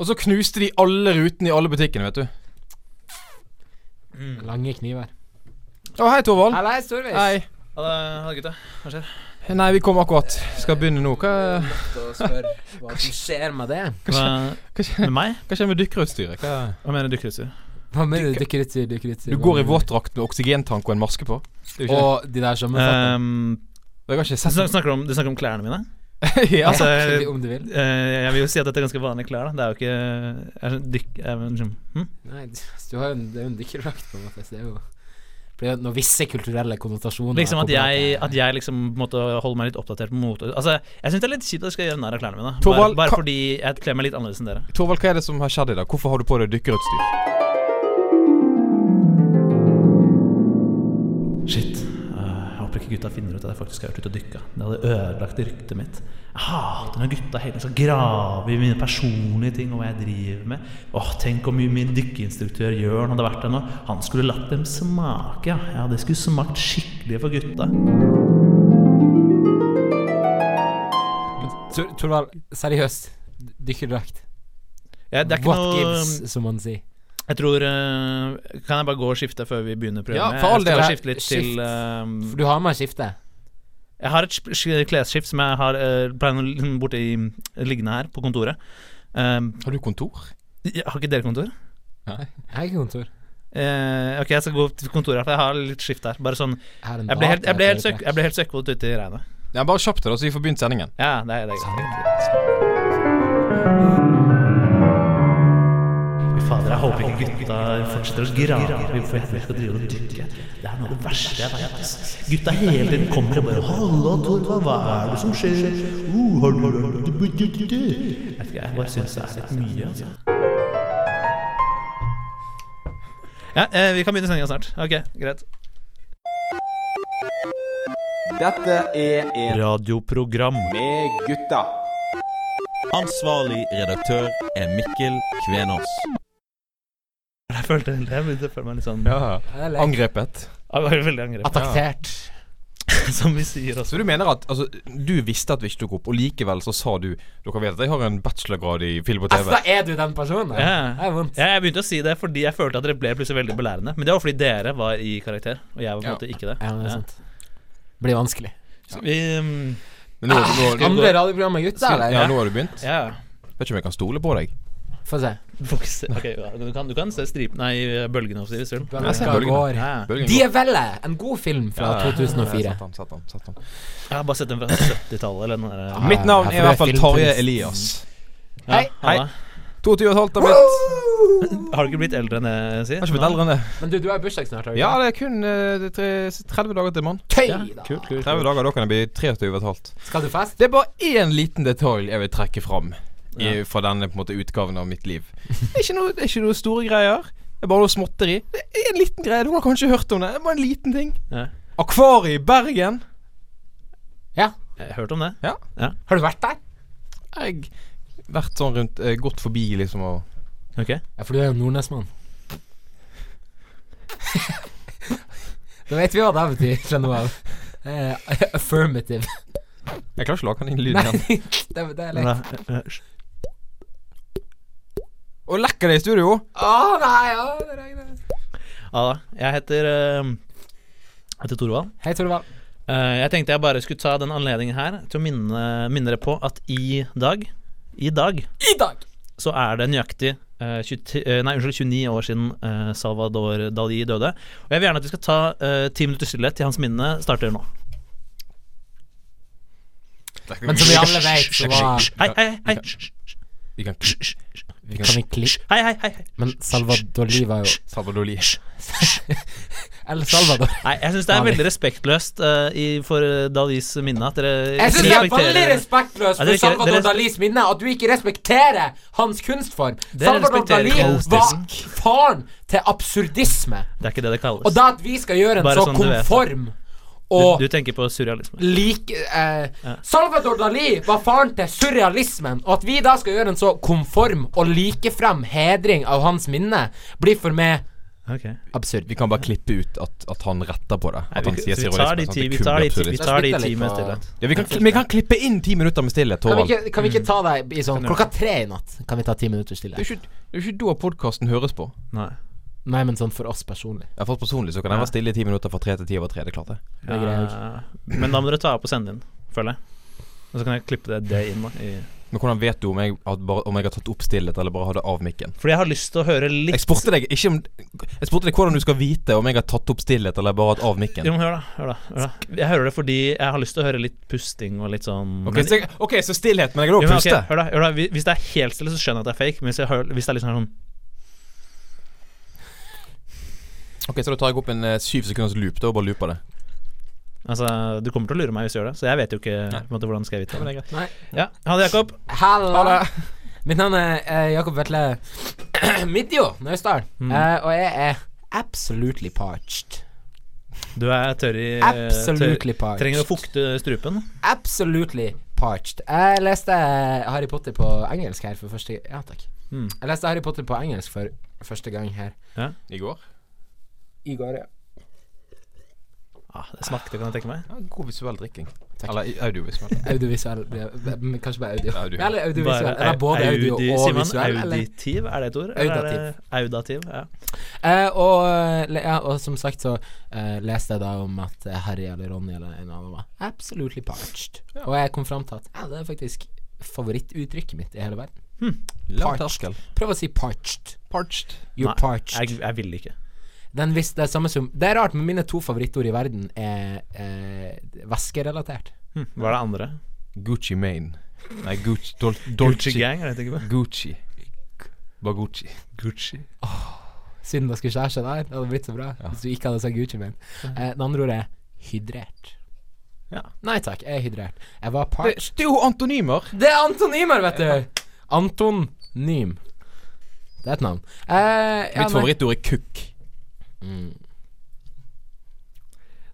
Og så knuste de alle rutene i alle butikkene, vet du. Mm. Lange kniver. Å, hei, Torvald. Hei, Storveis. Hei. Ha det, ha det gutta. Hva skjer? Nei, vi kom akkurat. Skal begynne nå. Hva, Og spør hva som skjer med det. Hva, hva, skjer, med meg? hva skjer med dykkerutstyret? Hva- Hva mener dykkerutstyr? Hva mener du? Dykkerutstyr, dykkerutstyr. Du går i våtdrakt med oksygentank og en maske på. Det er jo ikke Og de der sommerfattene. Um, Jeg har ikke du, sett snakker, snakker om, du snakker om klærne mine? ja. altså, Egentlig, om du vil. Eh, jeg vil jo si at dette er ganske vanlige klær. da Det er jo ikke er sånn dykk... er vel liksom, hm? Nei, du du har jo en, det er jo en dykkerdrakt, på en måte. Så det er jo blir jo noen visse kulturelle konnotasjoner. Liksom at koblet jeg, til- at jeg liksom på en måte holder meg litt oppdatert på mote Altså, jeg syns det er litt kjipt at jeg skal gjøre narr av klærne mine. Bare, Torvald, bare ka- fordi jeg kler meg litt annerledes enn dere. Torvald, hva er det som har skjedd i dag? Hvorfor har du på deg dykkerutstyr? Shit. Eh, jeg håper ikke gutta finner ut at jeg faktisk har vært ute og dykka. Det hadde ødelagt ryktet mitt. Jeg hater når gutta hele tiden skal grave i mine personlige ting og hva jeg driver med. Åh, Tenk hvor mye min dykkeinstruktør Jørn hadde vært der nå. Han skulle latt dem smake, ja. ja det skulle smakt skikkelig for gutta. Tor- Torvald, seriøst. Dykkerdrakt. Ja, det er ikke What noe gives, som man sier. Jeg tror eh, Kan jeg bare gå og skifte før vi begynner programmet? Ja, for all jeg del. skal skifte litt Skift. til eh, For du har med skifte. Jeg har et sk- sk- klesskift som jeg har eh, pleier å ligge borte i liggende her på kontoret. Um, Har du kontor? jeg har ikke dere kontor? Nei. Jeg har ikke kontor. Eh, ok, jeg skal gå til kontoret her, for jeg har litt skift her. Bare sånn Jeg har en altså. Jeg ble helt, jeg ble helt, dataapparat. søkk- jeg ble helt søkkvåt ute i regnet. Ja, bare kjapp det, da, så vi får begynt sendingen. Ja, det er, det er greit. Fader, jeg håper ikke gutta fortsetter å grave i hvorfor jeg skal drive og dykke. Det er noe av det verste jeg vet. ass. Gutta hele tiden kommer og bare 'Halla, Torvald, hva er det som skjer?' Uh, har du Jeg vet ikke, jeg bare syns det er litt mye, altså. Ja, eh, vi kan begynne sendinga snart. Ok, greit. Dette er en Radioprogram. med gutta. Ansvarlig redaktør er Mikkel Kvenås. Jeg følte jeg begynte å føle meg litt sånn Ja. Ja, det er leit. Angrepet. Jeg var veldig angrepet, Attaktert. som vi sier også. Så du mener at altså, du visste at vi ikke tok opp, og likevel så sa du Dere vet at jeg har en bachelorgrad i film og Altså, TV? da er du den personen. Ja. Det er vondt. Ja, jeg begynte å si det fordi jeg følte at dere ble plutselig veldig belærende. Men det var fordi dere var i karakter, og jeg var på en Ja. måte ikke det. Ja, men det Ja. er sant. Blir vanskelig. Så vi, um, Men nå, nå, nå, Andre radioprogram med gutter, eller? ja, nå har du begynt? ja. Vet ikke om jeg kan stole på deg. Få se. Du får ikke se- Ok, ja, du, kan, du kan se stripen Nei, bølgene også, hvis du vil. Jeg ser Bølger bølgene. går. Ja. Bølgen går. Diavelle! En god film fra Ja, ja, ja. Ja, 2004. sett han, sett han, sett han. Jeg har bare sett den fra 70-tallet, eller den der ja. Mitt navn er i hvert fall Tarjei Filmkunst. Elias. Hei. Hei. 22 og et halvt har blitt. Har du ikke blitt eldre enn det, si? Har ikke blitt eldre enn det. Men du, du har jo bursdag snart, har du Ja, ikke? det er kun eh, det er tre- 30 dager til, mann. Tøy, Ja, da! kult, kult, 30 kult. dager, da kan jeg bli 23 og et halvt. Skal du fest? Det er bare én liten detalj jeg vil trekke fram i, Ja. fra denne på en måte, utgaven av mitt liv. Det er ikke noe, det er ikke noe store greier. Det er bare noe småtteri. Det er en liten greie. Du har kanskje hørt om det. Det er bare en liten ting. Ja. Akvariet i Bergen. Ja. Jeg har hørt om det. Har du vært der? Jeg har vært sånn rundt eh, Gått forbi, liksom, og Ok. Ja, for du er jo nordnesmann. da vet vi hva det betyr fra nå av. Eh, affirmative. Jeg klarer ikke å lage den lyden Nei, igjen. det, det er Men leit. da- eh, Og lekker det i studio. Å nei, ja, det regner. Ja da. Jeg heter eh, Jeg heter Torvald. Hei, Torvald. Eh, jeg tenkte jeg bare skulle ta den anledningen her til å minne, minne dere på at i dag I dag I dag! så er det nøyaktig eh, 20, eh, nei, unnskyld, 29 år siden eh, Salvador Dali døde. Og jeg vil gjerne at vi skal ta eh, ti minutter stillhet til hans minne starter nå. Men som vi alle vet, så var Hei, hei, hei. Hysj, Vi kan hysj, hysj. Kan vi klippe? Hei, hei, hei. hei. Men Salvador Lee var jo Salvador Lee. El Salvador. Nei, jeg syns det er Dali. veldig respektløst eh, i, for eh, Dalis minne at dere Jeg synes det er veldig Ja, respektløst dere for ikke- Salvador dere- Dalis minne at du ikke respekterer hans kunstform. Dere Salvador respekterer Dali ikke var kunstformen. faren til absurdisme. Det er ikke det det kalles. Og da at vi skal gjøre en Bare så sånn du vet det. konform du, og du tenker på surrealisme. like eh, Salvador Dali var faren til surrealismen, og at vi da skal gjøre en så konform og likefrem hedring av hans minne, blir for meg Ok. Absurd. Vi kan bare klippe ut at, at han retter på det. At Nei, han vi, sier vi tar de seriøst, men sånn at ti, det vi kun tar blir de ti, absurd. vi tar de Jeg spytter ti litt med på- stillhet. Ja, vi, kan, vi kan klippe inn ti minutter med stillhet, Kan vi, Torvald. Det ikke, kan vi ikke ta deg i sånn Kan du- klokka tre i natt? Kan vi ta ti minutter er stille? jo ikke, det er jo ikke da podkasten høres på. Nei. Nei, men sånn for oss personlig. Ja, for personlig så kan jeg være stille i ti minutter fra tre til ti over tre. Det er klart, det. Det er greit. Ja, Eh, men da må dere ta opp og sende inn, føler jeg. Og så kan jeg klippe det, det inn. Da, i Men hvordan vet du om jeg, har- bare, om jeg har tatt opp stillhet, eller bare har det av mikken? Fordi jeg har lyst til å høre litt Jeg spurte deg ikke om Jeg spurte deg hvordan du skal vite om jeg har tatt opp stillhet, eller bare hatt av mikken. Jo, men hør da, hør da, hør da. Jeg hører det fordi jeg har lyst til å høre litt pusting og litt sånn Ok, men- så, jeg- ok, så stillhet, men jeg kan Jo, også men ok, puste? hør da, hør da. Hvis- Hvis det er helt stille, så skjønner jeg at det er fake. Men hvis, jeg hører, hvis det er litt sånn sånn Ok, Så da tar jeg opp en eh, syv sekunders loop da og bare looper det. Altså, du kommer til å lure meg hvis du gjør det, så jeg vet jo ikke på en måte, hvordan skal jeg vite det. Nei. Ja, Ha det, Jakob. Halla! Mitt navn er eh, Jakob Vetle Midjo Naustdal. Mm. Eh, og jeg er absolutely parched. Du er tørr i Absolutely tørr- Eh, Trenger å parched. fukte strupen. Absolutely parched. Jeg leste Harry Potter på engelsk her for første Ja, takk. Mm. Jeg leste Harry Potter på engelsk for første gang her I går? i går. ja. Ah, det smakte, kan jeg tenke meg. Ja, god visuell drikking. Eller i- audiovisuell. Audiovisuell blir- men Kanskje bare audio. Audio. Eller audiovisuell. Bare Eller både audi- sier audio og man visuell. eller? Auditiv, er det et ord? Eller er det Audativ. Ja. Eh, og, eh, le- ja, og som sagt så eh, leste jeg da om at eh, Harry eller Ronny eller en av dem var absolutely parched. Og jeg kom fram til at ja, det er faktisk favorittuttrykket mitt i hele verden. Lang Parched. terskel. Prøv å si parched. Parched. You're Nei, parched. Jeg, jeg vil ikke. Den hvis det er samme som Det er rart, men mine to favorittord i verden er eh, væskerelatert. Hm, Hva er det andre? Gucci Maine. Nei, Gucci Dol Dolce Dolce Gang? Er det ikke på? Gucci. Bare Gucci. Gucci. Siden dere skulle kjæreste der, det hadde blitt så bra hvis du ikke hadde sagt Gucci Mane. Eh, det andre ordet er hydrert. Ja. Nei takk, jeg er hydrert. Jeg var Det, parched. det er jo antonymer. Det er antonymer, vet du! Antonym. Det er et navn. Eh, ja, Mitt nei. favorittord er kukk.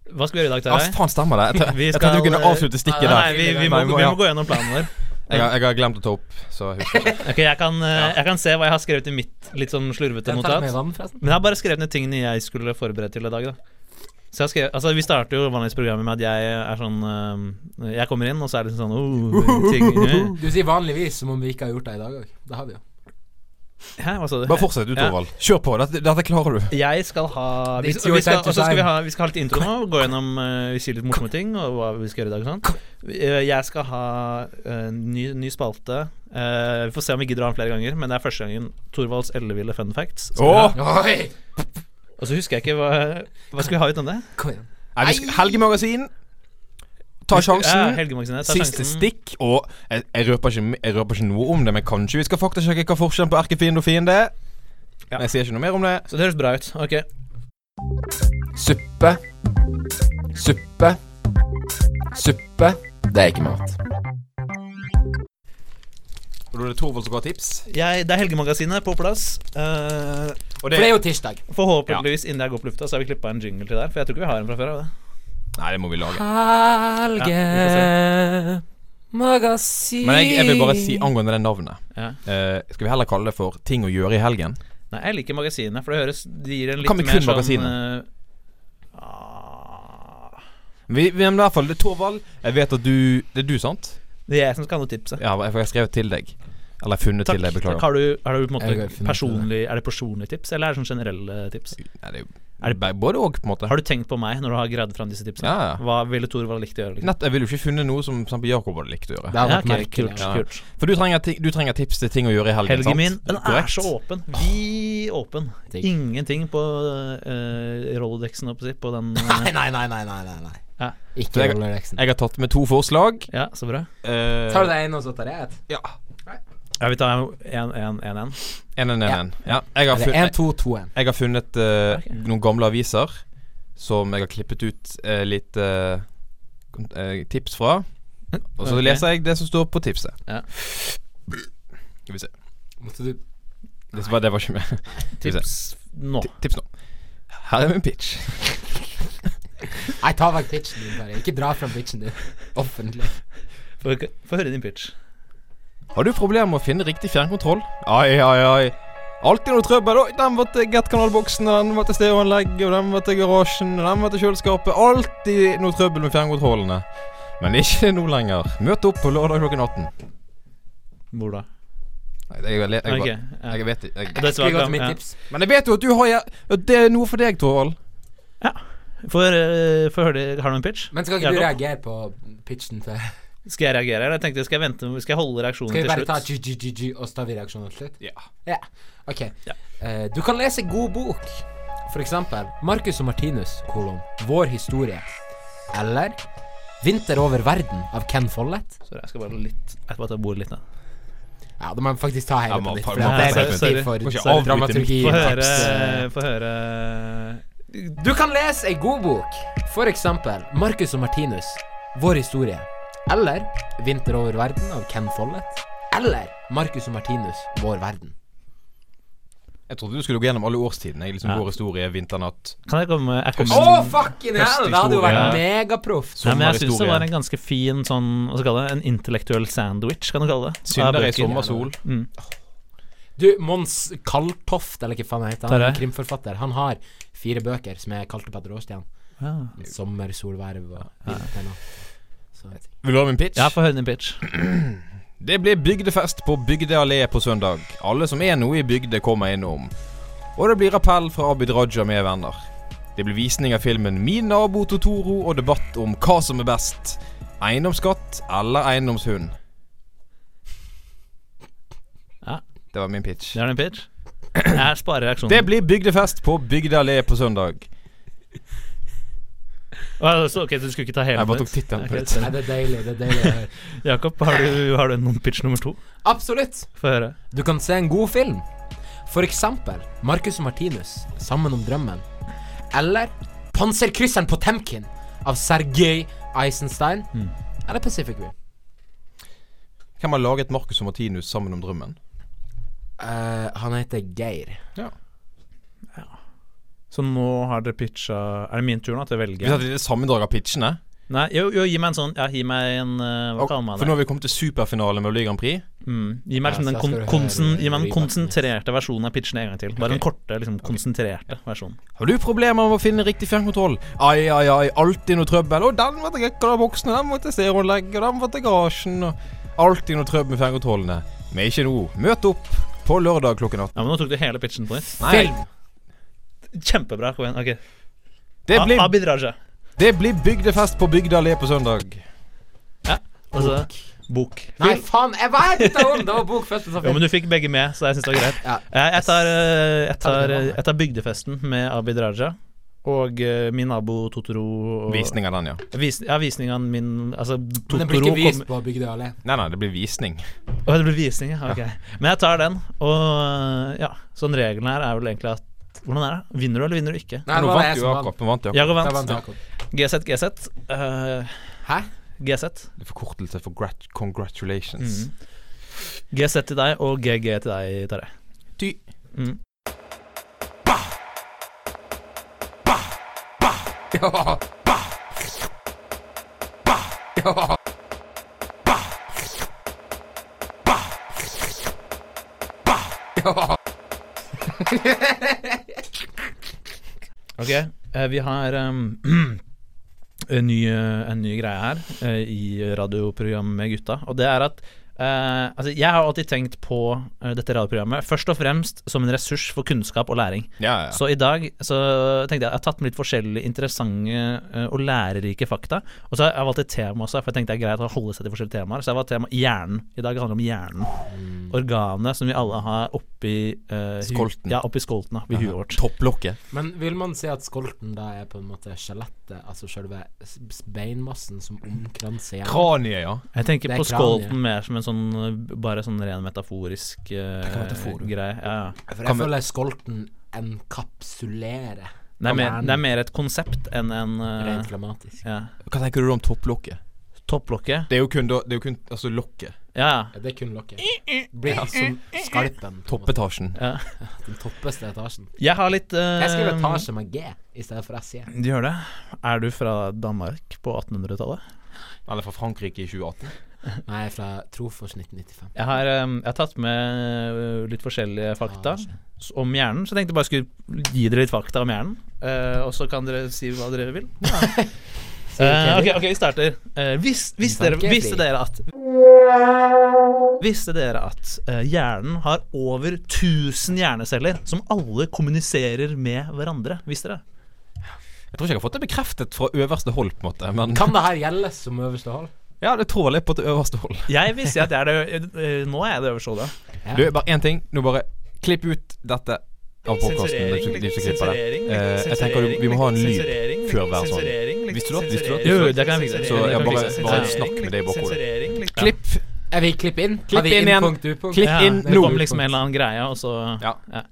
Hva skal vi gjøre i dag, Ja, Terje? faen, stemmer det. Jeg tenkte- Vi Jeg tenkte skal, du kunne eh, avslutte stikket Nei, der. nei, vi, vi, må, vi ja. må gå gjennom planen vår. jeg, har- jeg har glemt å ta opp, så jeg husker ikke. Ok, jeg kan, eh, jeg kan se hva jeg har skrevet i mitt litt sånn slurvete Jeg tar notat. med vann, forresten. Men jeg har bare skrevet ned tingene jeg skulle forberede til i dag, da. Så jeg har skrevet, altså Vi starter jo vanligvis programmet med at jeg er sånn eh, Jeg kommer inn, og så er det sånn oh, ting, eh. Du sier vanligvis som om vi ikke har gjort det i dag òg. Det har vi jo. Hæ, hva sa du? Bare fortsett du, Ja. Torvald. Kjør på. Dette, dette klarer du. Jeg skal ha vi, This is vi your skal, time to Og så skal vi shine. ha, vi skal ha litt intro nå. Gå gjennom eh, Vi sier litt morsomme ting og hva vi skal gjøre i dag. og Sånn. Vi- eh, Jeg skal ha eh, ny, ny spalte. Eh, vi får se om vi gidder å ha den flere ganger, men det er første gangen Thorvalds elleville fun facts. skal vi ha. Åh! Oi! Og så husker jeg ikke hva, hva skal vi ha uten det? Kom igjen. Nei, vi skal- Helgemagasin. Ta Ja, sjansen. Helgemagasinet. ta Siste sjansen. stikk. Og jeg, jeg, røper ikke, jeg røper ikke noe om det, men kanskje vi skal faktasjekke hva forskjellen på erkefiende og fiende er. Ja. Men jeg sier ikke noe mer om det. Så det høres bra ut. Ok. Suppe. Suppe. Suppe. Det er ikke mat. Og da er det Torvald som ga tips. Jeg, det er Helgemagasinet på plass. Eh, Og For det det er jo tirsdag. forhåpentligvis innen jeg går på lufta, så har vi klippa en jingle til der. For jeg tror ikke vi har en fra før av. det. Nei, det må vi lage. Helge Magasin. Men jeg, jeg vil bare si angående det navnet. Ja. Eh, skal vi heller kalle det for Ting å gjøre i helgen? Nei, jeg liker magasinet, for det høres Det gir en litt Kan vi mer kun sånn magasinet? eh, ah. Vi, vi, men i hvert fall, det er Torvald, jeg vet at du Det er du, sant? Det er jeg som skal ha noe tipset. Ja, jeg har skrevet til deg. Eller jeg har funnet Takk. til deg, Takk. beklager. Har du, har du på en Jeg har måte funnet personlig Er det personlige tips, eller er det sånn generelle tips? Nei, det er, jo- er det be- både og, på en måte? Har du tenkt på meg når du har gravd fram disse tipsene? Ja, ja. Hva ville Thorvald likt å gjøre? Liksom? Nett, jeg ville jo ikke funnet noe som for eksempel Jakob hadde likt å gjøre. Det har Ja, vært ok, merkelig. kult, ja. kult. For du trenger, ti- du trenger tips til ting å gjøre i helgen, Helgen sant? min, den er Korrekt. så åpen. Vi åpen. Ah, Digg. Ingenting på uh, Rolodexen, holdt jeg på å si, på den eh, Nei, nei, nei, nei, nei. nei, nei. Ja. Så Ikke jeg- Rollerexen. Jeg har tatt med to forslag. Ja, så bra. Eh, Tar du det ene, og så tar jeg et? Ja. Ja, vi tar 1-1-1-1. Eh, En, en, en, en. Ja. Jeg har funnet, Eller 1, 2, 2, 1. jeg har funnet eh, Ok. noen gamle aviser som jeg har klippet ut eh, litt eh, kon- eh, tips fra. Og så Ok. leser jeg det som står på tipset. Ja. Skal vi se. Måtte du Det var, det var ikke med. Skal vi se. Tips nå. Ti- Tips nå. Her er min pitch. Nei, ta vekk pitchen din, bare. Ikke dra fram pitchen din offentlig. Få få høre din pitch. Har du problemer med å finne riktig fjernkontroll? Ai, ai, ai. Alltid noe trøbbel. Oi, den var til Get-kanalboksen, og den var til stereoanlegget, og den var til garasjen, og den var til kjøleskapet. Alltid noe trøbbel med fjernkontrollene. Men ikke nå lenger. Møt opp på lørdag klokken 18. Hvor da? Nei, det er jo le- jeg, Ok, bare- ja. jeg vet ikke. Jeg, Det Skal vi gå til mitt ja. tips? men jeg vet jo at du har ja, Det er noe for deg, Torvald. Få høre- få høre, har du en pitch? Men skal ikke du Jakob? reagere på pitchen til Skal jeg reagere, eller? Jeg tenkte skal jeg vente Skal jeg holde reaksjonen Skal vi til bare ta slutt? GGGG, og så tar vi reaksjonen til slutt? Ja. Ja, ok. Ja. Eh, du kan lese god bok. For eksempel Marcus og Martinus, kolon, Vår historie. Eller Vinter over verden av Ken Follett. Sorry, jeg skal bare litt Jeg skal bare ta bordet litt, da. Ja, da må jeg faktisk ta hele Ja, man- på man- nytt. For det man- er sorry, viktig sorry. Må ikke for avbryte dramaturgi. Få og høre tekst, eh. Få høre Du kan lese ei god bok. For eksempel Marcus og Martinus, Vår historie. Eller Vinter over verden av Ken Follett. Eller Marcus og Martinus, Vår verden. Jeg trodde du skulle gå gjennom alle årstidene. Jeg liksom Ja. Vår historie, vinternatt Kan jeg komme Jeg kommer Å, fucking hell! Det hadde jo vært megaproft. Nei, men jeg syns det sommerhistorie. var en ganske fin sånn Hva skal jeg kalle det? En intellektuell sandwich, kan du kalle det. Av Synder i bøker. sommersol. Mm. Du, Mons Kaltoft, eller hva faen han heter, han er Tarjei? en krimforfatter. Han har fire bøker som er kalt opp etter årstiden. Ja. Sommer, solverv og vinter. Så Vil du ha min pitch? Ja, få høre din pitch. Det blir bygdefest på Bygde allé på søndag. Alle som er noe i bygde, kommer innom. Og det blir appell fra Abid Raja med venner. Det blir visning av filmen Min nabo Totoro og debatt om hva som er best. Eiendomsskatt eller eiendomshund. Ja. Det var min pitch. Det er din pitch. Jeg sparer reaksjonen. Det blir bygdefest på Bygde allé på søndag. Å, så, ok, så du skulle ikke ta hele Jeg bare den tok ut? tittelen på Ok, det. Nei, det er deilig. det er deilig å høre. så- Jakob, har du, har du noen pitch nummer to? Absolutt. Få høre. Du kan se en god film. For eksempel Marcus og Martinus, 'Sammen om drømmen'. Eller 'Panserkrysseren på Temkin' av Sergej Eisenstein. Hmm. Eller Pacific Rim. Hvem har laget Marcus og Martinus sammen om drømmen? Eh, han heter Geir. Så nå har dere pitcha Er det min tur nå til å velge? Vi satt i det sammendrag av pitchene. Nei, jo, jo, gi meg en sånn Ja, gi meg en eh, Hva kaller man For det? nå har vi kommet til superfinale med Melodi Grand Prix. Mm. Gi meg, Ja, liksom så den jeg kon skal høre konsen, gi meg den remaksen. konsentrerte versjonen av pitchen en gang til. Bare den korte, liksom, konsentrerte versjonen. Har du problemer med å finne riktig fjernkontroll? Ai, ai, ai, alltid noe trøbbel. Og den var til gekkanalboksen, og den var til stereoanlegget, og den var til garasjen. Og alltid noe trøbbel med fjernkontrollene. Men ikke nå. Møt opp på lørdag klokken 18. Ja, men Nå tok du hele pitchen på nytt. Nei. Film! Kjempebra. Kom igjen. ok Det A- blir, Abid Raja. det blir bygdefest på Bygda allé på søndag. Og Altså, så bok. Nei, faen! Jeg, hva er dette om? Det var bok først. og så Jo, film. men du fikk begge med, så jeg syns det var greit. Ja. Eh, Jeg tar, eh, jeg Ta tar, det med eh, meg. jeg tar Bygdefesten med Abid Raja. Og eh, min nabo Totoro og Visning av den, ja. Vis, ja, visninga min Altså, Men Totoro den blir ikke vist kommer- på Bygdøy allé. Nei, nei, det blir visning. Å, det blir visning, ja. Ok. Men jeg tar den. Og ja, sånn regelen her er vel egentlig at Hvordan er det? Vinner du, eller vinner du ikke? Nei, nå det var jeg vant jo som vant. Jakob. Nå vant Jakob. Jakob Da vant vant. Jakob. GZ, GZ. eh, Hæ? GZ. Det er Forkortelse for grat congratulations. Mm. GZ til deg og GG til deg, Tarjei. Ty. Mm. Ja. Ja. Ok, eh, vi har em, en, ny, eh, en ny greie her eh, i radioprogrammet med gutta. Og det er at eh, altså, jeg har alltid tenkt på eh, dette radioprogrammet først og fremst som en ressurs for kunnskap og læring. Ja, ja. Så i dag så tenkte jeg jeg har tatt med litt forskjellige interessante eh, og lærerike fakta. Og så har jeg valgt et tema også, for jeg tenkte det er greit å holde seg til forskjellige temaer. Så jeg valgte tema hjernen. I dag handler det om hjernen. Mm. Organet som vi alle har oppi eh, hu- Skolten. Ja, oppi skolten, da, ved huet vårt. Topplokket. Men vil man si at skolten da er på en måte skjelettet, altså selve s- s- beinmassen som omkranser hjernen? Kraniet, ja. Jeg tenker Det er på kraniet. skolten mer som en sånn eh, Bare sånn ren metaforisk eh, Det kan være metafor, du. greie. Ja, ja. For jeg føler skolten enkapsulerer Det, er mer, hjernen. det er mer et konsept enn en eh, rent grammatisk. ja. Hva tenker du om topplokket? Topplokket. Det er jo kun, da- det er jo kun altså, lokket. Ja, Ja, det er kun lokket. Eh, Blir altså skalpen. på en måte. Toppetasjen. ja. Den toppeste etasjen. Jeg har litt eh, Jeg um, skriver etasje med G i stedet for SE. Du gjør det. Er du fra Danmark på 1800-tallet? Eller fra Frankrike i 2018. Nei, fra Trofors 1995. Jeg har, eh, jeg har tatt med eh, litt Ah, forskjellige fakta s- om hjernen, så jeg tenkte jeg bare skulle gi dere litt fakta om hjernen. eh, og så kan dere si hva dere vil. Eh, ok, ok, vi starter. Eh, vis, visste, dere, Tankefri. visste dere at Visste dere at eh, hjernen har over 1000 hjerneceller som alle kommuniserer med hverandre? Visste dere? Jeg tror ikke jeg har fått det bekreftet fra øverste hold, på en måte. Men Kan det her gjelde som øverste hold? ja, det tror jeg litt på til øverste hold. Jeg visste at jeg er det eh, Nå er jeg det øverste hodet. Ja. Du, bare én ting. Nå bare klipp ut dette av podkasten. Eh, jeg tenker du, vi må ha en lyd. før hver sånn. Visste du at- visste du at- Jo, jo, det kan jeg fikse. Så Det jeg kan bare, fikses. bare Sensurering, snakk med det i bakhodet. Klipp. Jeg vil klippe inn. Klipp Har vi inn igjen. innpunkt, upunkt? Klipp Ja, inn det nå. kom liksom en eller annen greie, og så Ja.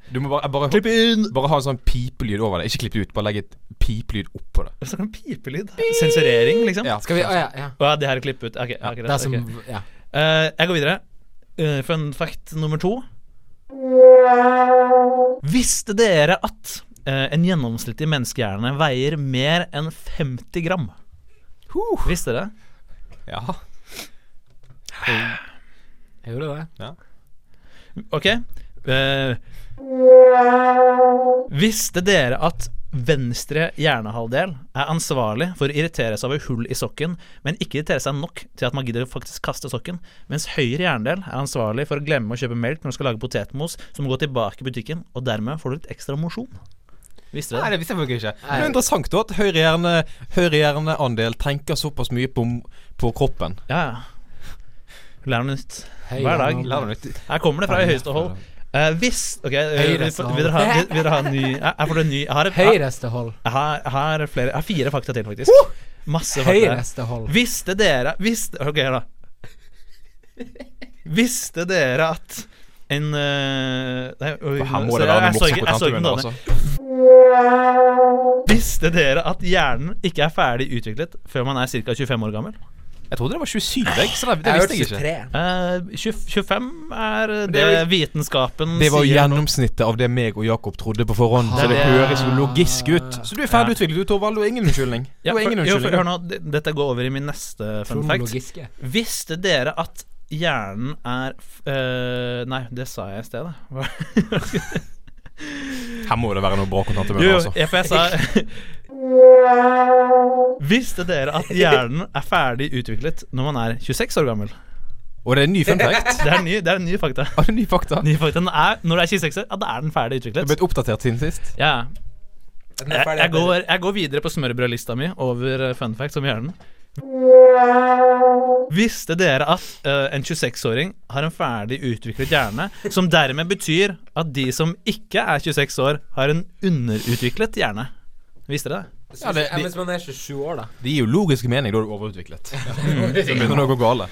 Du må bare, jeg bare, Klipp inn! bare ha en sånn pipelyd over det. Ikke klipp det ut, bare legg et pipelyd oppå det. Og så kan pipelyd. Sensurering, liksom. Ja. Skal vi Å ja. ja. Å ja, det her er klippet ut. Ok, ja, Det greit. er som ok. Ja. Eh, jeg går videre. Eh, fun fact nummer to. Visste dere at eh, en gjennomsnittlig menneskehjerne veier mer enn 50 gram? Visste dere? Ja. Jeg gjorde det. Ok. Eh, visste dere at venstre hjernehalvdel er ansvarlig for å irritere seg over hull i sokken, men ikke irritere seg nok til at man gidder å faktisk kaste sokken, mens høyre hjernedel er ansvarlig for å glemme å kjøpe melk når du skal lage potetmos, som må gå tilbake i butikken, og dermed får du litt ekstra mosjon. Visste Nei, dere det? det visste jeg faktisk ikke. Men Nei. det er interessant da at høyre hjerne- høyre hjerneandel tenker såpass mye på, på kroppen. Ja, ja. Lær noe nytt. Høy Hver dag. gjennom- La det nytt. Her kommer det fra høyeste hold. Eh, hvis Ok, eh, Høyre vil som- vil dere ha, vil, vil dere ha en ny Jeg, jeg får en ny jeg har, jeg, Høyreste hold. Jeg har, jeg har, flere, jeg har fire fakta til, faktisk. Masse fakta. Høyreste hold. Visste dere visste, Ok, hør, da. Visste dere at en eh, Nei, oi, Her må så det jeg- være noe jeg så morsomt på ikke- jeg så ikke kanten. den Altså. da. Visste dere at hjernen ikke er ferdig utviklet før man er ca. 25 år gammel? Jeg trodde det var 27, jeg, så det, det Jeg visste hørte jeg ikke. 23. Eh, 20 25 er det, Det er vitenskapen Det var jo sier. gjennomsnittet av det meg og Jakob trodde på forhånd, så det Ah. høres jo logisk ut. Så du er ferdig utviklet, du, Torvald. Du har ingen unnskyldning. Du ja, har for, ingen jo, for, hør unnskyldning. nå, d- Dette går over i min neste fun fact. Kronologiske. Visste dere at hjernen er f- eh, Nei, det sa jeg i sted, da. Hva- Her må det være noe bra kontant i Jo, jo, altså. jeg, for jeg sa Visste dere at hjernen er ferdig utviklet når man er 26 år gammel? Og det er en ny fun fact. Det er ny, det er ny fakta. Har du ny fakta? Ny fakta den er, Når du er 26 år, ja, da er den ferdig Du har utviklet. blitt oppdatert siden sist. Ja, ja. jeg, jeg, går, jeg går videre på smørbrødlista mi over eh, fun facts om hjernen. Visste dere at eh, en 26-åring har en ferdig utviklet hjerne, som dermed betyr at de som ikke er 26 år, har en underutviklet hjerne? Visste dere det? Ja, det- de- Hvis man er 27 år, da. Det gir jo logisk mening da du er overutviklet. Så begynner det å gå gale.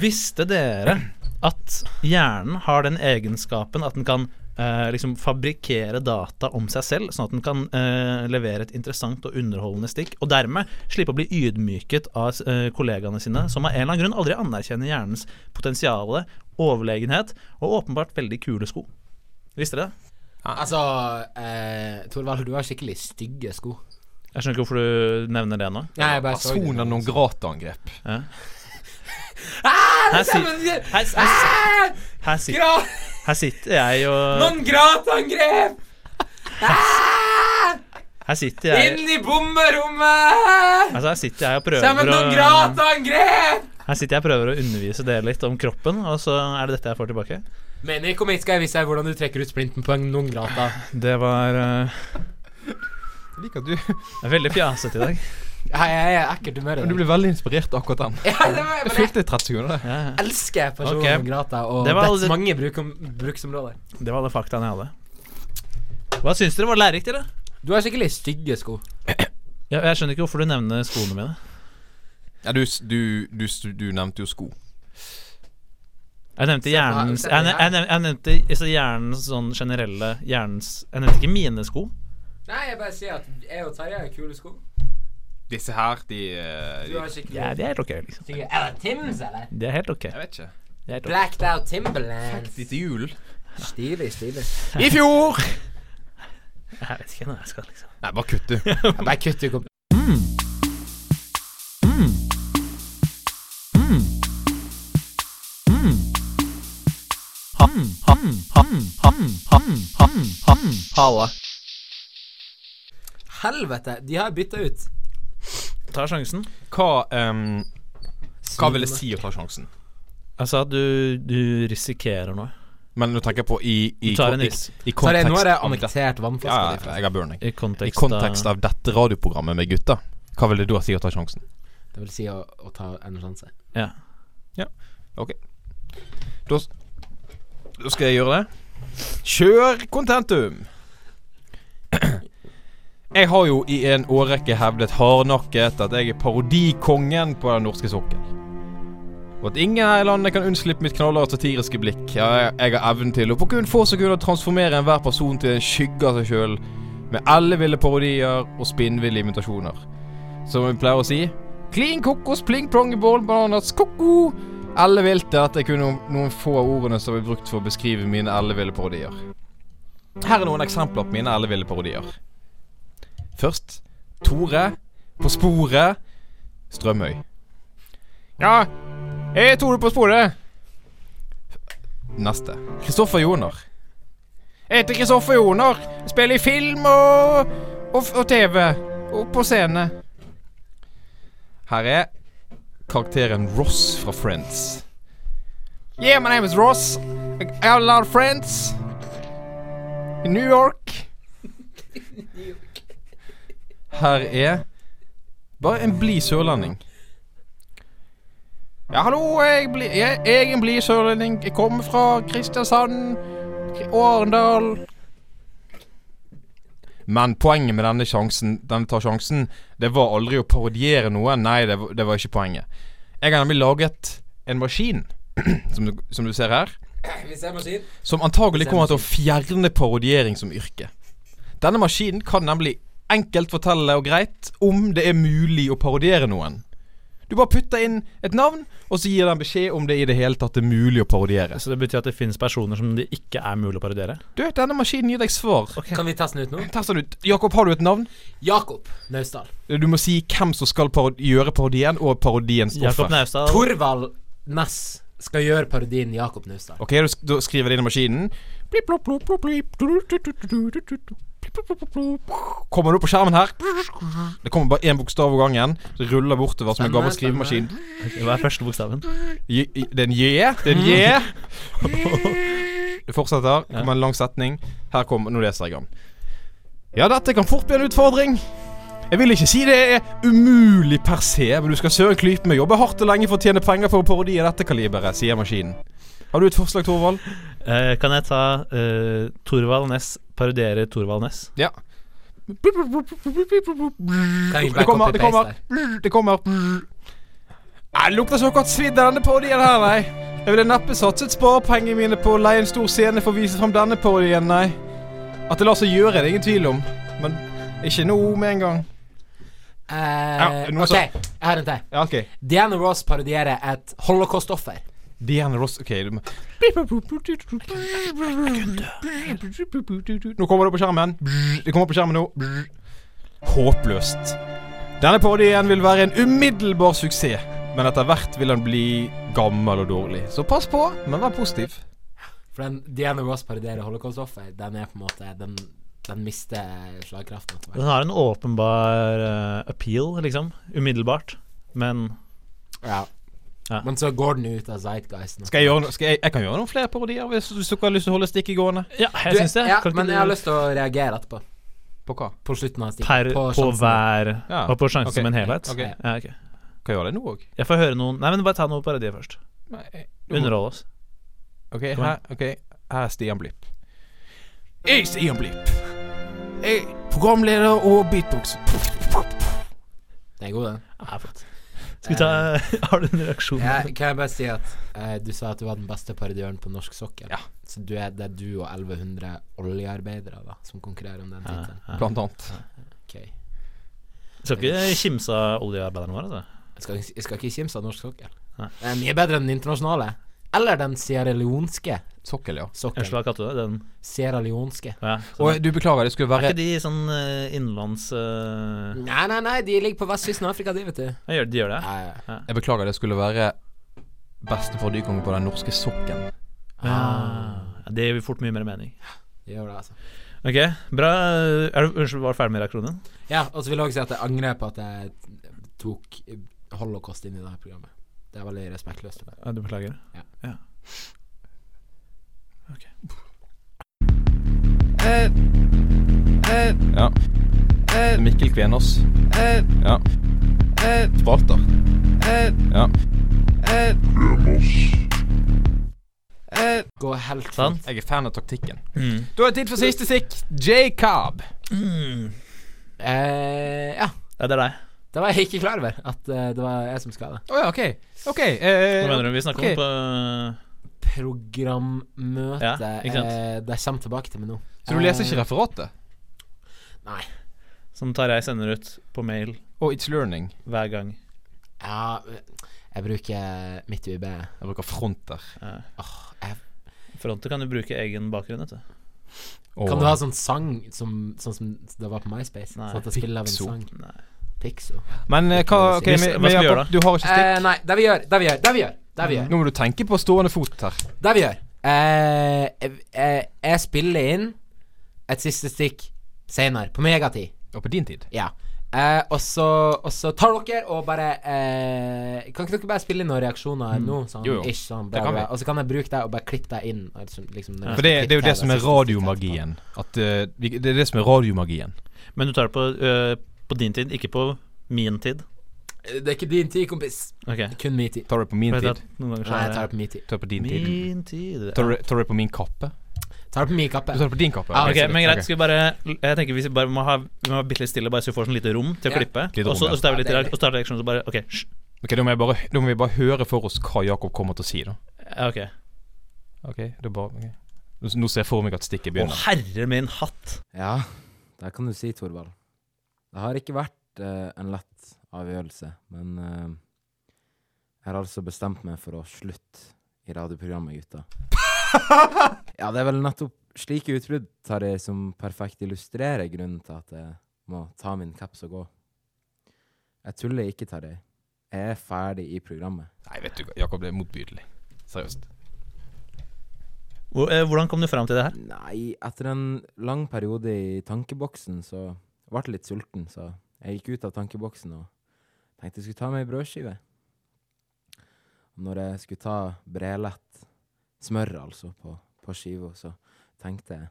Visste dere at hjernen har den egenskapen at den kan eh, liksom fabrikkere data om seg selv, sånn at den kan eh, levere et interessant og underholdende stikk, og dermed slippe å bli ydmyket av eh, kollegaene sine, som av en eller annen grunn aldri anerkjenner hjernens potensiale, overlegenhet og åpenbart veldig kule sko. Visste dere det? Altså, eh, Torvald, du har skikkelig stygge sko. Jeg skjønner ikke hvorfor du nevner det nå. Nei, jeg bare så det. Personer noen grata-angrep. Her, si, her, her, her, si, her sitter jeg og gratangrep! Her sitter jeg, i bomberommet! altså, her sitter jeg og prøver å gratangrep! Her sitter jeg og prøver å undervise dere litt om kroppen, og så er det dette jeg får tilbake. Men i komikk skal jeg vise deg hvordan du trekker ut splinten på en noen grata. Det var eh, Jeg liker at du, veldig fjasete i dag. Jeg, jeg er ekkelt humør i du dag. ble veldig inspirert av akkurat den. Ja, det var- Jeg men jeg følte 30 sekunder der. Ja, ja. elsker personer Ok. med grata og Det var dets aldri- mange brukom, bruksområder. det var alle faktaene jeg hadde. Hva syns dere? Var det lærerikt, eller? Du har skikkelig stygge sko. Ja, jeg skjønner ikke hvorfor du nevner skoene mine. Ja, du, s- du, du, s- du nevnte jo sko. Jeg nevnte hjernens Jeg, nev- jeg, nev- jeg nevnte altså, hjernens sånn generelle hjernens Jeg nevnte ikke mine sko. Nei, jeg bare sier at jeg og Tarjei har kule sko. Disse her, de, eh, de Du har Jeg skikkelig Ja, de er helt ok, liksom. stygge Er det Tims, eller? De er helt ok. vet ikke. De er helt ok. Blacked out Timberlands. De til jul. Stilig, stilig. I fjor! Jeg vet ikke når jeg skal, liksom. Nei, bare kutt, du. Bare kutt ut kom- Halla. Helvete, de har bytta ut. Ta sjansen. Hva, ehm, hva vil det si å ta sjansen? Altså at du, du risikerer noe. Men nå tenker jeg på i, i, Du tar en i, risk. i Så det, kontekst nå har jeg av dette- annektert Ja, vannflaska di. ja, jeg har burning. I I kontekst, kontekst av av dette radioprogrammet med gutta, hva vil det da si å ta sjansen? forresten. Det vil si å, å ta en sjanse. ja. Ok. Da, s- da skal jeg gjøre det. Kjør kontentum! Jeg har jo i en årrekke hevdet hardnakket at jeg er parodikongen på den norske sokkel. Og at ingen her i landet kan unnslippe mitt knallharde satiriske blikk. Ja, jeg, jeg har evnen til å på kun få sekunder transformere enhver person til en skygge av seg sjøl, med elleville parodier og spinnville imitasjoner. Som vi pleier å si Klin kokos, pling plong, bål, bananas, koko. Ellevilt er dette kun noen, noen få av ordene som er brukt for å beskrive mine elleville parodier. Her er noen eksempler på mine elleville parodier. Først Tore på sporet Strømøy. Ja, jeg er Tore på sporet. Neste. Kristoffer Joner. Jeg heter Kristoffer Joner. Jeg Spiller i film og, og, og TV. Og på scene. Her er karakteren Ross fra Friends. Yeah, my name is Ross. I I have a lot of friends. In New York. Her er bare en blid sørlending. Ja, hallo, jeg, bli, jeg, jeg er en blid sørlending. Jeg kommer fra Kristiansand og Arendal. Men poenget med denne sjansen, denne tar sjansen, det var aldri å parodiere noe. Nei, det, var- det var ikke poenget. Jeg har nemlig laget en maskin, som du, som du ser her, Vi ser maskin. som antagelig kommer til å fjerne parodiering som yrke. Denne maskinen kan nemlig enkelt fortelle og greit om det er mulig å parodiere noen. Du bare putter inn et navn, og så gir den beskjed om det i det hele tatt er mulig å parodiere. Så det betyr at det finnes personer som det ikke er mulig å parodiere? Du, denne maskinen gir deg svar. Kan vi teste den ut nå? Test den ut. Jakob, har du et navn? Jakob Naustdal. Du må si hvem som skal parod gjøre parodien, og parodiens offer. Jakob Naustdal. Torvald Næss skal gjøre parodien Jakob Naustdal. Ok, du sk- da skriver det inn i maskinen. Blip, blop, blop, blop, blip. Du, du, du, du, du, du, du, du. Blip, blop, blop, blop. Kommer det opp på skjermen her? Det kommer bare én bokstav av gangen. Det ruller bortover som en gammel Spennende, skrivemaskin. Hva er første bokstaven? J- i- Det er en J. Det er en J. Det fortsetter. Det kommer en lang setning. Her kommer Nå leser jeg den. Ja, dette kan fort bli en utfordring. Jeg vil ikke si det er umulig per se, men du skal søren klype meg jobbe hardt og lenge for å tjene penger på å parodie dette kaliberet, sier maskinen. Har du et forslag, Torvald? Eh, kan jeg ta eh, Torvald Næss parodierer Torvald Næss? Ja. Kan vi Det bare kommer, det copy-paste kommer. der? Det kommer. Nei, det lukter så godt svidd av denne parodien her, nei. Jeg ville neppe satset sparepengene mine på å leie en stor scene for å vise fram denne parodien, nei. At det lar seg gjøre, er det ingen tvil om. Men ikke nå med en gang. Eh, Ja, noe ok, så- jeg har en til. Ja, OK. Diana Ross parodierer et holocaust-offer. Diana Ross OK, du må Nå kommer det på skjermen. Det kommer på skjermen nå. Håpløst. Denne parodien vil være en umiddelbar suksess, men etter hvert vil den bli gammel og dårlig. Så pass på, men vær positiv. For den Diana Ross parodierer holocaust-offer, den er på en måte Den, den mister slagkraften etter hvert. Den har en åpenbar eh, appeal, liksom. Umiddelbart. Men Ja. Ja. Men så går den ut av zeitgeisten. Skal jeg gjøre no skal jeg, jeg kan gjøre noen flere parodier hvis, hvis dere har lyst til å holde stikket gående. ja, jeg syns det. Ja, Kan ikke men du- jeg har lyst til å reagere etterpå. På hva? På slutten av Per, stikken. på, sjansen. hver Ja. Og på sjansen Ok. som en helhet? Ok. Ja, ok. Kan jeg gjøre det nå òg? Jeg får høre noen Nei, men bare ta noe parodier først. Underhold oss. Ok, Kom her, ok, her er Stian Blipp. Jeg er Stian Blipp. Jeg er programleder og beatbox. Den er god, den. Ja, flott. Skal vi ta Har du en reaksjon? Jeg, kan jeg bare si at eh, du sa at du var den beste parodiøren på norsk sokkel. Ja. Så du er, det er du og 1100 oljearbeidere da som konkurrerer om den Ja, tittelen. ja. Blant annet. Ok. Skal ikke kimse av oljearbeiderne våre, altså. Jeg skal, ikke- jeg skal ikke kimse av norsk sokkel. Nei. Den er mye bedre enn den internasjonale. Eller den sierra leonske Sokkel, ja. sokkelen. Unnskyld, hva kalte du det? Den Sierra leonske. ja, sånn. Og du beklager, det skulle Er være ikke de sånn eh, innenlands eh, Nei, nei, nei, de ligger på vestkysten av Afrika, de, vet du. ja, gjør- De gjør det? Nei, Jeg beklager, det skulle være beste parodikonge på den norske sokken. Ja, det gir fort mye mer mening. Det gjør det, altså. Ok, bra. Er du, unnskyld, var du ferdig med reaksjonen? Ja, og så vil jeg også si at jeg angrer på at jeg tok holocaust inn i dette programmet. Det er veldig respektløst. for meg. Ja, du beklager? Ja. Ok. Ja. Mikkel Kvenås. Ja. eh, Spalter. Ja. Går helt Sånn. fint. Jeg er fan av taktikken. Mm. Da er det tid for siste stikk. J. Cobb. Eh, ja. Ja, det er deg. Det var jeg ikke klar over, at eh, det var jeg som skal ha det. Å ja, OK. OK. Hva Eh, mener du? Vi ok. snakker om på Programmøte Ja, ikke sant. eh, Det jeg kommer tilbake til meg nå. så du leser ikke referatet? Nei. Som Tarjei sender ut på mail Og It's Learning. hver gang. Eh, Ja, jeg bruker mitt Jeg UiB. bruker fronter. Ja. Åh, jeg, Fronter kan du bruke egen bakgrunn, vet du. kan du ha sånn sang som, sånn som det var på MySpace? Nei, Sånn at jeg spiller av en Pixo. sang. Nei. Pixo. Men eh, hva, ok, Hvis- vi, hva vi, skal vi Jakob, gjøre da? du har ikke stikk? Eh, nei, det vi gjør, det vi gjør, det vi gjør, det Mm. vi gjør. Nå må du tenke på stående fot her. Det vi gjør. Eh, eh, jeg spiller inn et siste stikk senere, på megatid. Og på din tid. Ja. Eh, og så og så tar dere og bare eh, Kan ikke dere bare spille inn noen reaksjoner nå? Sånn, Mm. Jo, jo. Ish, sånn, Det bla, kan bla. vi. Og så kan jeg bruke deg og bare klippe deg inn. og Liksom, liksom, når jeg For det, skal det er jo det klippe til som er siste stikket etterpå. radiomagien. At eh, vi, Det er det som er radiomagien. Men du tar det på, øh, på din tid, ikke på min tid. Eh, Det er ikke din tid, kompis. Ok. Kun min tid. Tar du det på min Vet du tid? at Noen ganger så Nei, er jeg tar det på min tid. Tar du det på din tid? Min tid. Ja. Tar du, tar du det på min kappe? Tar det på min Du kappe. tar det på din kappe? Ja, Ok, Ah, Ok, men greit, ok. skal vi bare Jeg tenker vi bare må ha Vi må ha bitte litt stille, bare så vi får sånn lite rom til å Ja. klippe. Litt rom, Og så ja. og så tar vi litt Ja, det er reak- og så tar vi reaksjon, så bare OK. hysj. Ok, da må, jeg bare, da må vi bare høre for oss hva Jakob kommer til å si, da. Ja, ok. Ok, det er bare ok. Nå- Nå ser jeg for meg at stikket Å, begynner. herre min hatt! Ja, det kan du si, Torvald. Det har ikke vært eh, en lett avgjørelse, men eh, jeg har altså bestemt meg for å slutte i radioprogrammet, gutta. ja, det er vel nettopp slike utbrudd tar jeg som perfekt illustrerer grunnen til at jeg må ta min kaps og gå. Jeg tuller ikke, Tarjei. Jeg er ferdig i programmet. Nei, vet du hva, Jakob, det er motbydelig. Seriøst. Hvor- eh, Hvordan kom du fram til det her? Nei, etter en lang periode i tankeboksen, så ble jeg litt sulten, så jeg gikk ut av tankeboksen og tenkte jeg skulle ta meg en brødskive. Og når jeg skulle ta brelett, smør altså, på, på skiva, så tenkte jeg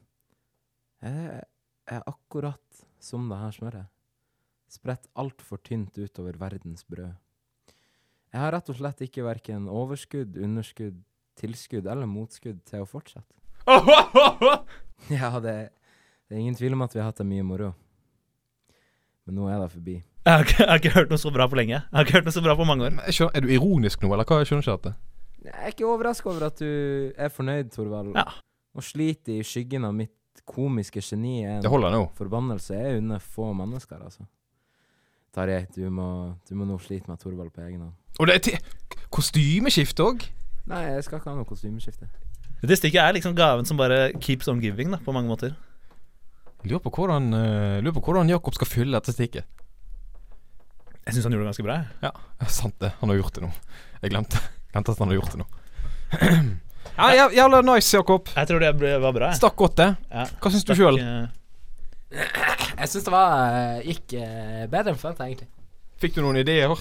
Jeg er akkurat som det her smøret. Spredt altfor tynt utover verdens brød. Jeg har rett og slett ikke verken overskudd, underskudd, tilskudd eller motskudd til å fortsette. Ja, det, det er ingen tvil om at vi har hatt det mye moro. Men nå er det forbi. Jeg har, ikke, jeg har ikke hørt noe så bra på lenge. Jeg har ikke hørt noe så bra på mange år. Men jeg skjønner, er du ironisk nå, eller hva? Jeg skjønner ikke dette. Jeg er ikke overraska over at du er fornøyd, Torvald. Ja. Og sliter i skyggen av mitt komiske geni. er Det En holder nå. forbannelse er under få mennesker, altså. Tarjei, du, må- du må nå slite med Torvald på egen hånd. Og det er til kostymeskifte òg! Nei, jeg skal ikke ha noe kostymeskifte. Det stikket er liksom gaven som bare keeps on giving, da, på mange måter. Lurer på hvordan, eh, lurer på hvordan Jakob skal fylle dette stikket. Jeg syns han gjorde det ganske bra. jeg. Ja, sant det. Han har gjort det nå. Jeg glemte, glemte at han hadde gjort det nå. Ja, jæv- jævla nice, Jakob. Jeg tror det ble- var bra. jeg. Stakk godt, det. Ja. Hva syns du Stakk, sjøl? eh, Jeg syns det var, eh, gikk eh, bedre enn forventa, egentlig. Fikk du noen ideer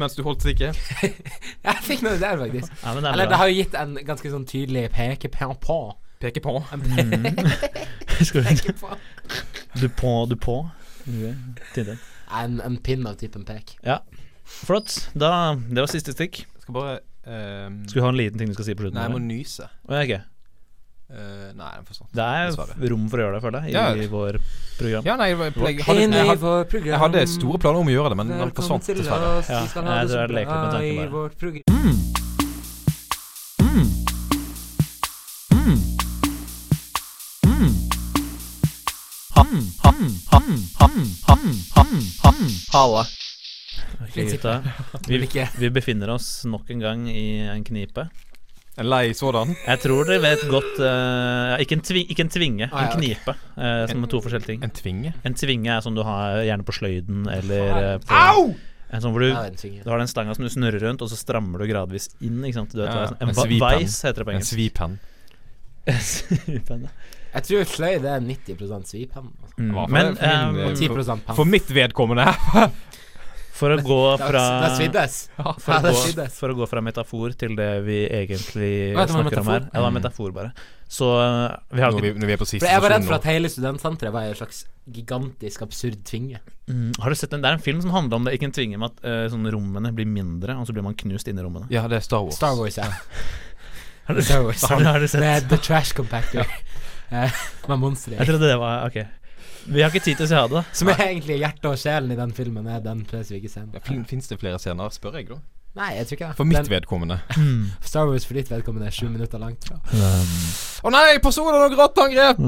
mens du holdt stikket? Jeg fikk noe der, faktisk. Ja, men det er Eller det bra. har jo gitt en ganske sånn tydelig pekepinn på. Peke på. Mm. Skal du- Ikke på. Du på, du på. Ok, tydelig. En, en pinn av typen pek. Flott. Da, det var siste stikk. Skal bare ehm, Skal du ha en liten ting du skal si på slutten? Nei, jeg må eller? nyse. Ja, ok. Eh, nei, den forsvant. Det Dessverre. er rom for å gjøre det, føler jeg, i Ja. vår program. Ja, nei, jeg, jeg, hadde, jeg, hadde, vårt program. jeg hadde store planer om å gjøre det, men den forsvant dessverre. Ja, jeg tror jeg leker litt med tanken bare. vårt program. Halla. Prinsippet. Vi, vi befinner oss nok en gang i en knipe. En lei sådan. Jeg tror dere vet godt eh, ja, ikke, en tvi, ikke en tvinge, Ah, ja, en knipe. eh, som er to forskjellige ting. En tvinge. En tvinge er som du har gjerne på sløyden eller eh, på, En sånn hvor du, Jeg har en ting, ja. du har den stanga som du snurrer rundt, og så strammer du gradvis inn. Ikke sant? Du vet, Ja, hva ja. det er, sånn, En en va- svipenn. veis heter det på En engelsk. svipenn. Svipenn, ja. Jeg tror fløy det er 90 sviphenn. Altså. Hva for Mm. Men det for min, eh, Og 10 penn. For mitt vedkommende for å gå Da- fra Da sviddes. for, Ja, å da gå, sviddes. for å gå fra metafor til det vi egentlig Å, det var en snakker om her. metafor? Ja, det var en metafor, bare. Så eh, vi har, når vi, ikke- når vi er på siste For jeg var redd sesjon for nå. at hele studentsenteret var en slags gigantisk absurd tvinge. mm, har du sett en, Det er en film som handler om det. Ikke en tvinge med at eh, sånn rommene blir mindre, og så blir man knust inni rommene. Ja, det er Star Wars. Star Wars, ja. Har du, Star Wars. har du, har du sett? Med The Trash Compactor. Eh, Med monsteret. Jeg trodde det var Ok. Vi har ikke tid til å se det. da. Som er egentlig hjertet og sjelen i den filmen, er den spesifikke scenen. Ja, fin- Fins det flere scener, spør jeg da? Nei, jeg tror ikke det. For mitt Den- vedkommende. Star Wars for ditt vedkommende er sju minutter langt. Å nei, personer og grotteangrep!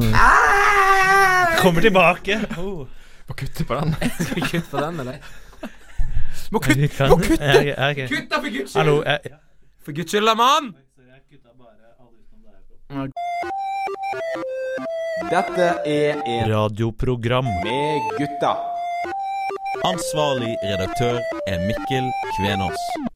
Kommer tilbake. Oh. Må kutte på den. Skal vi kutte på den, eller? Må kutte! Vi kan- må kutte! Ja, ok, ok. Kutta for guds Hallo. Jeg, For guds skyld, da, mann! Dette er en radioprogram. Med gutta. Ansvarlig redaktør er Mikkel Kvenås.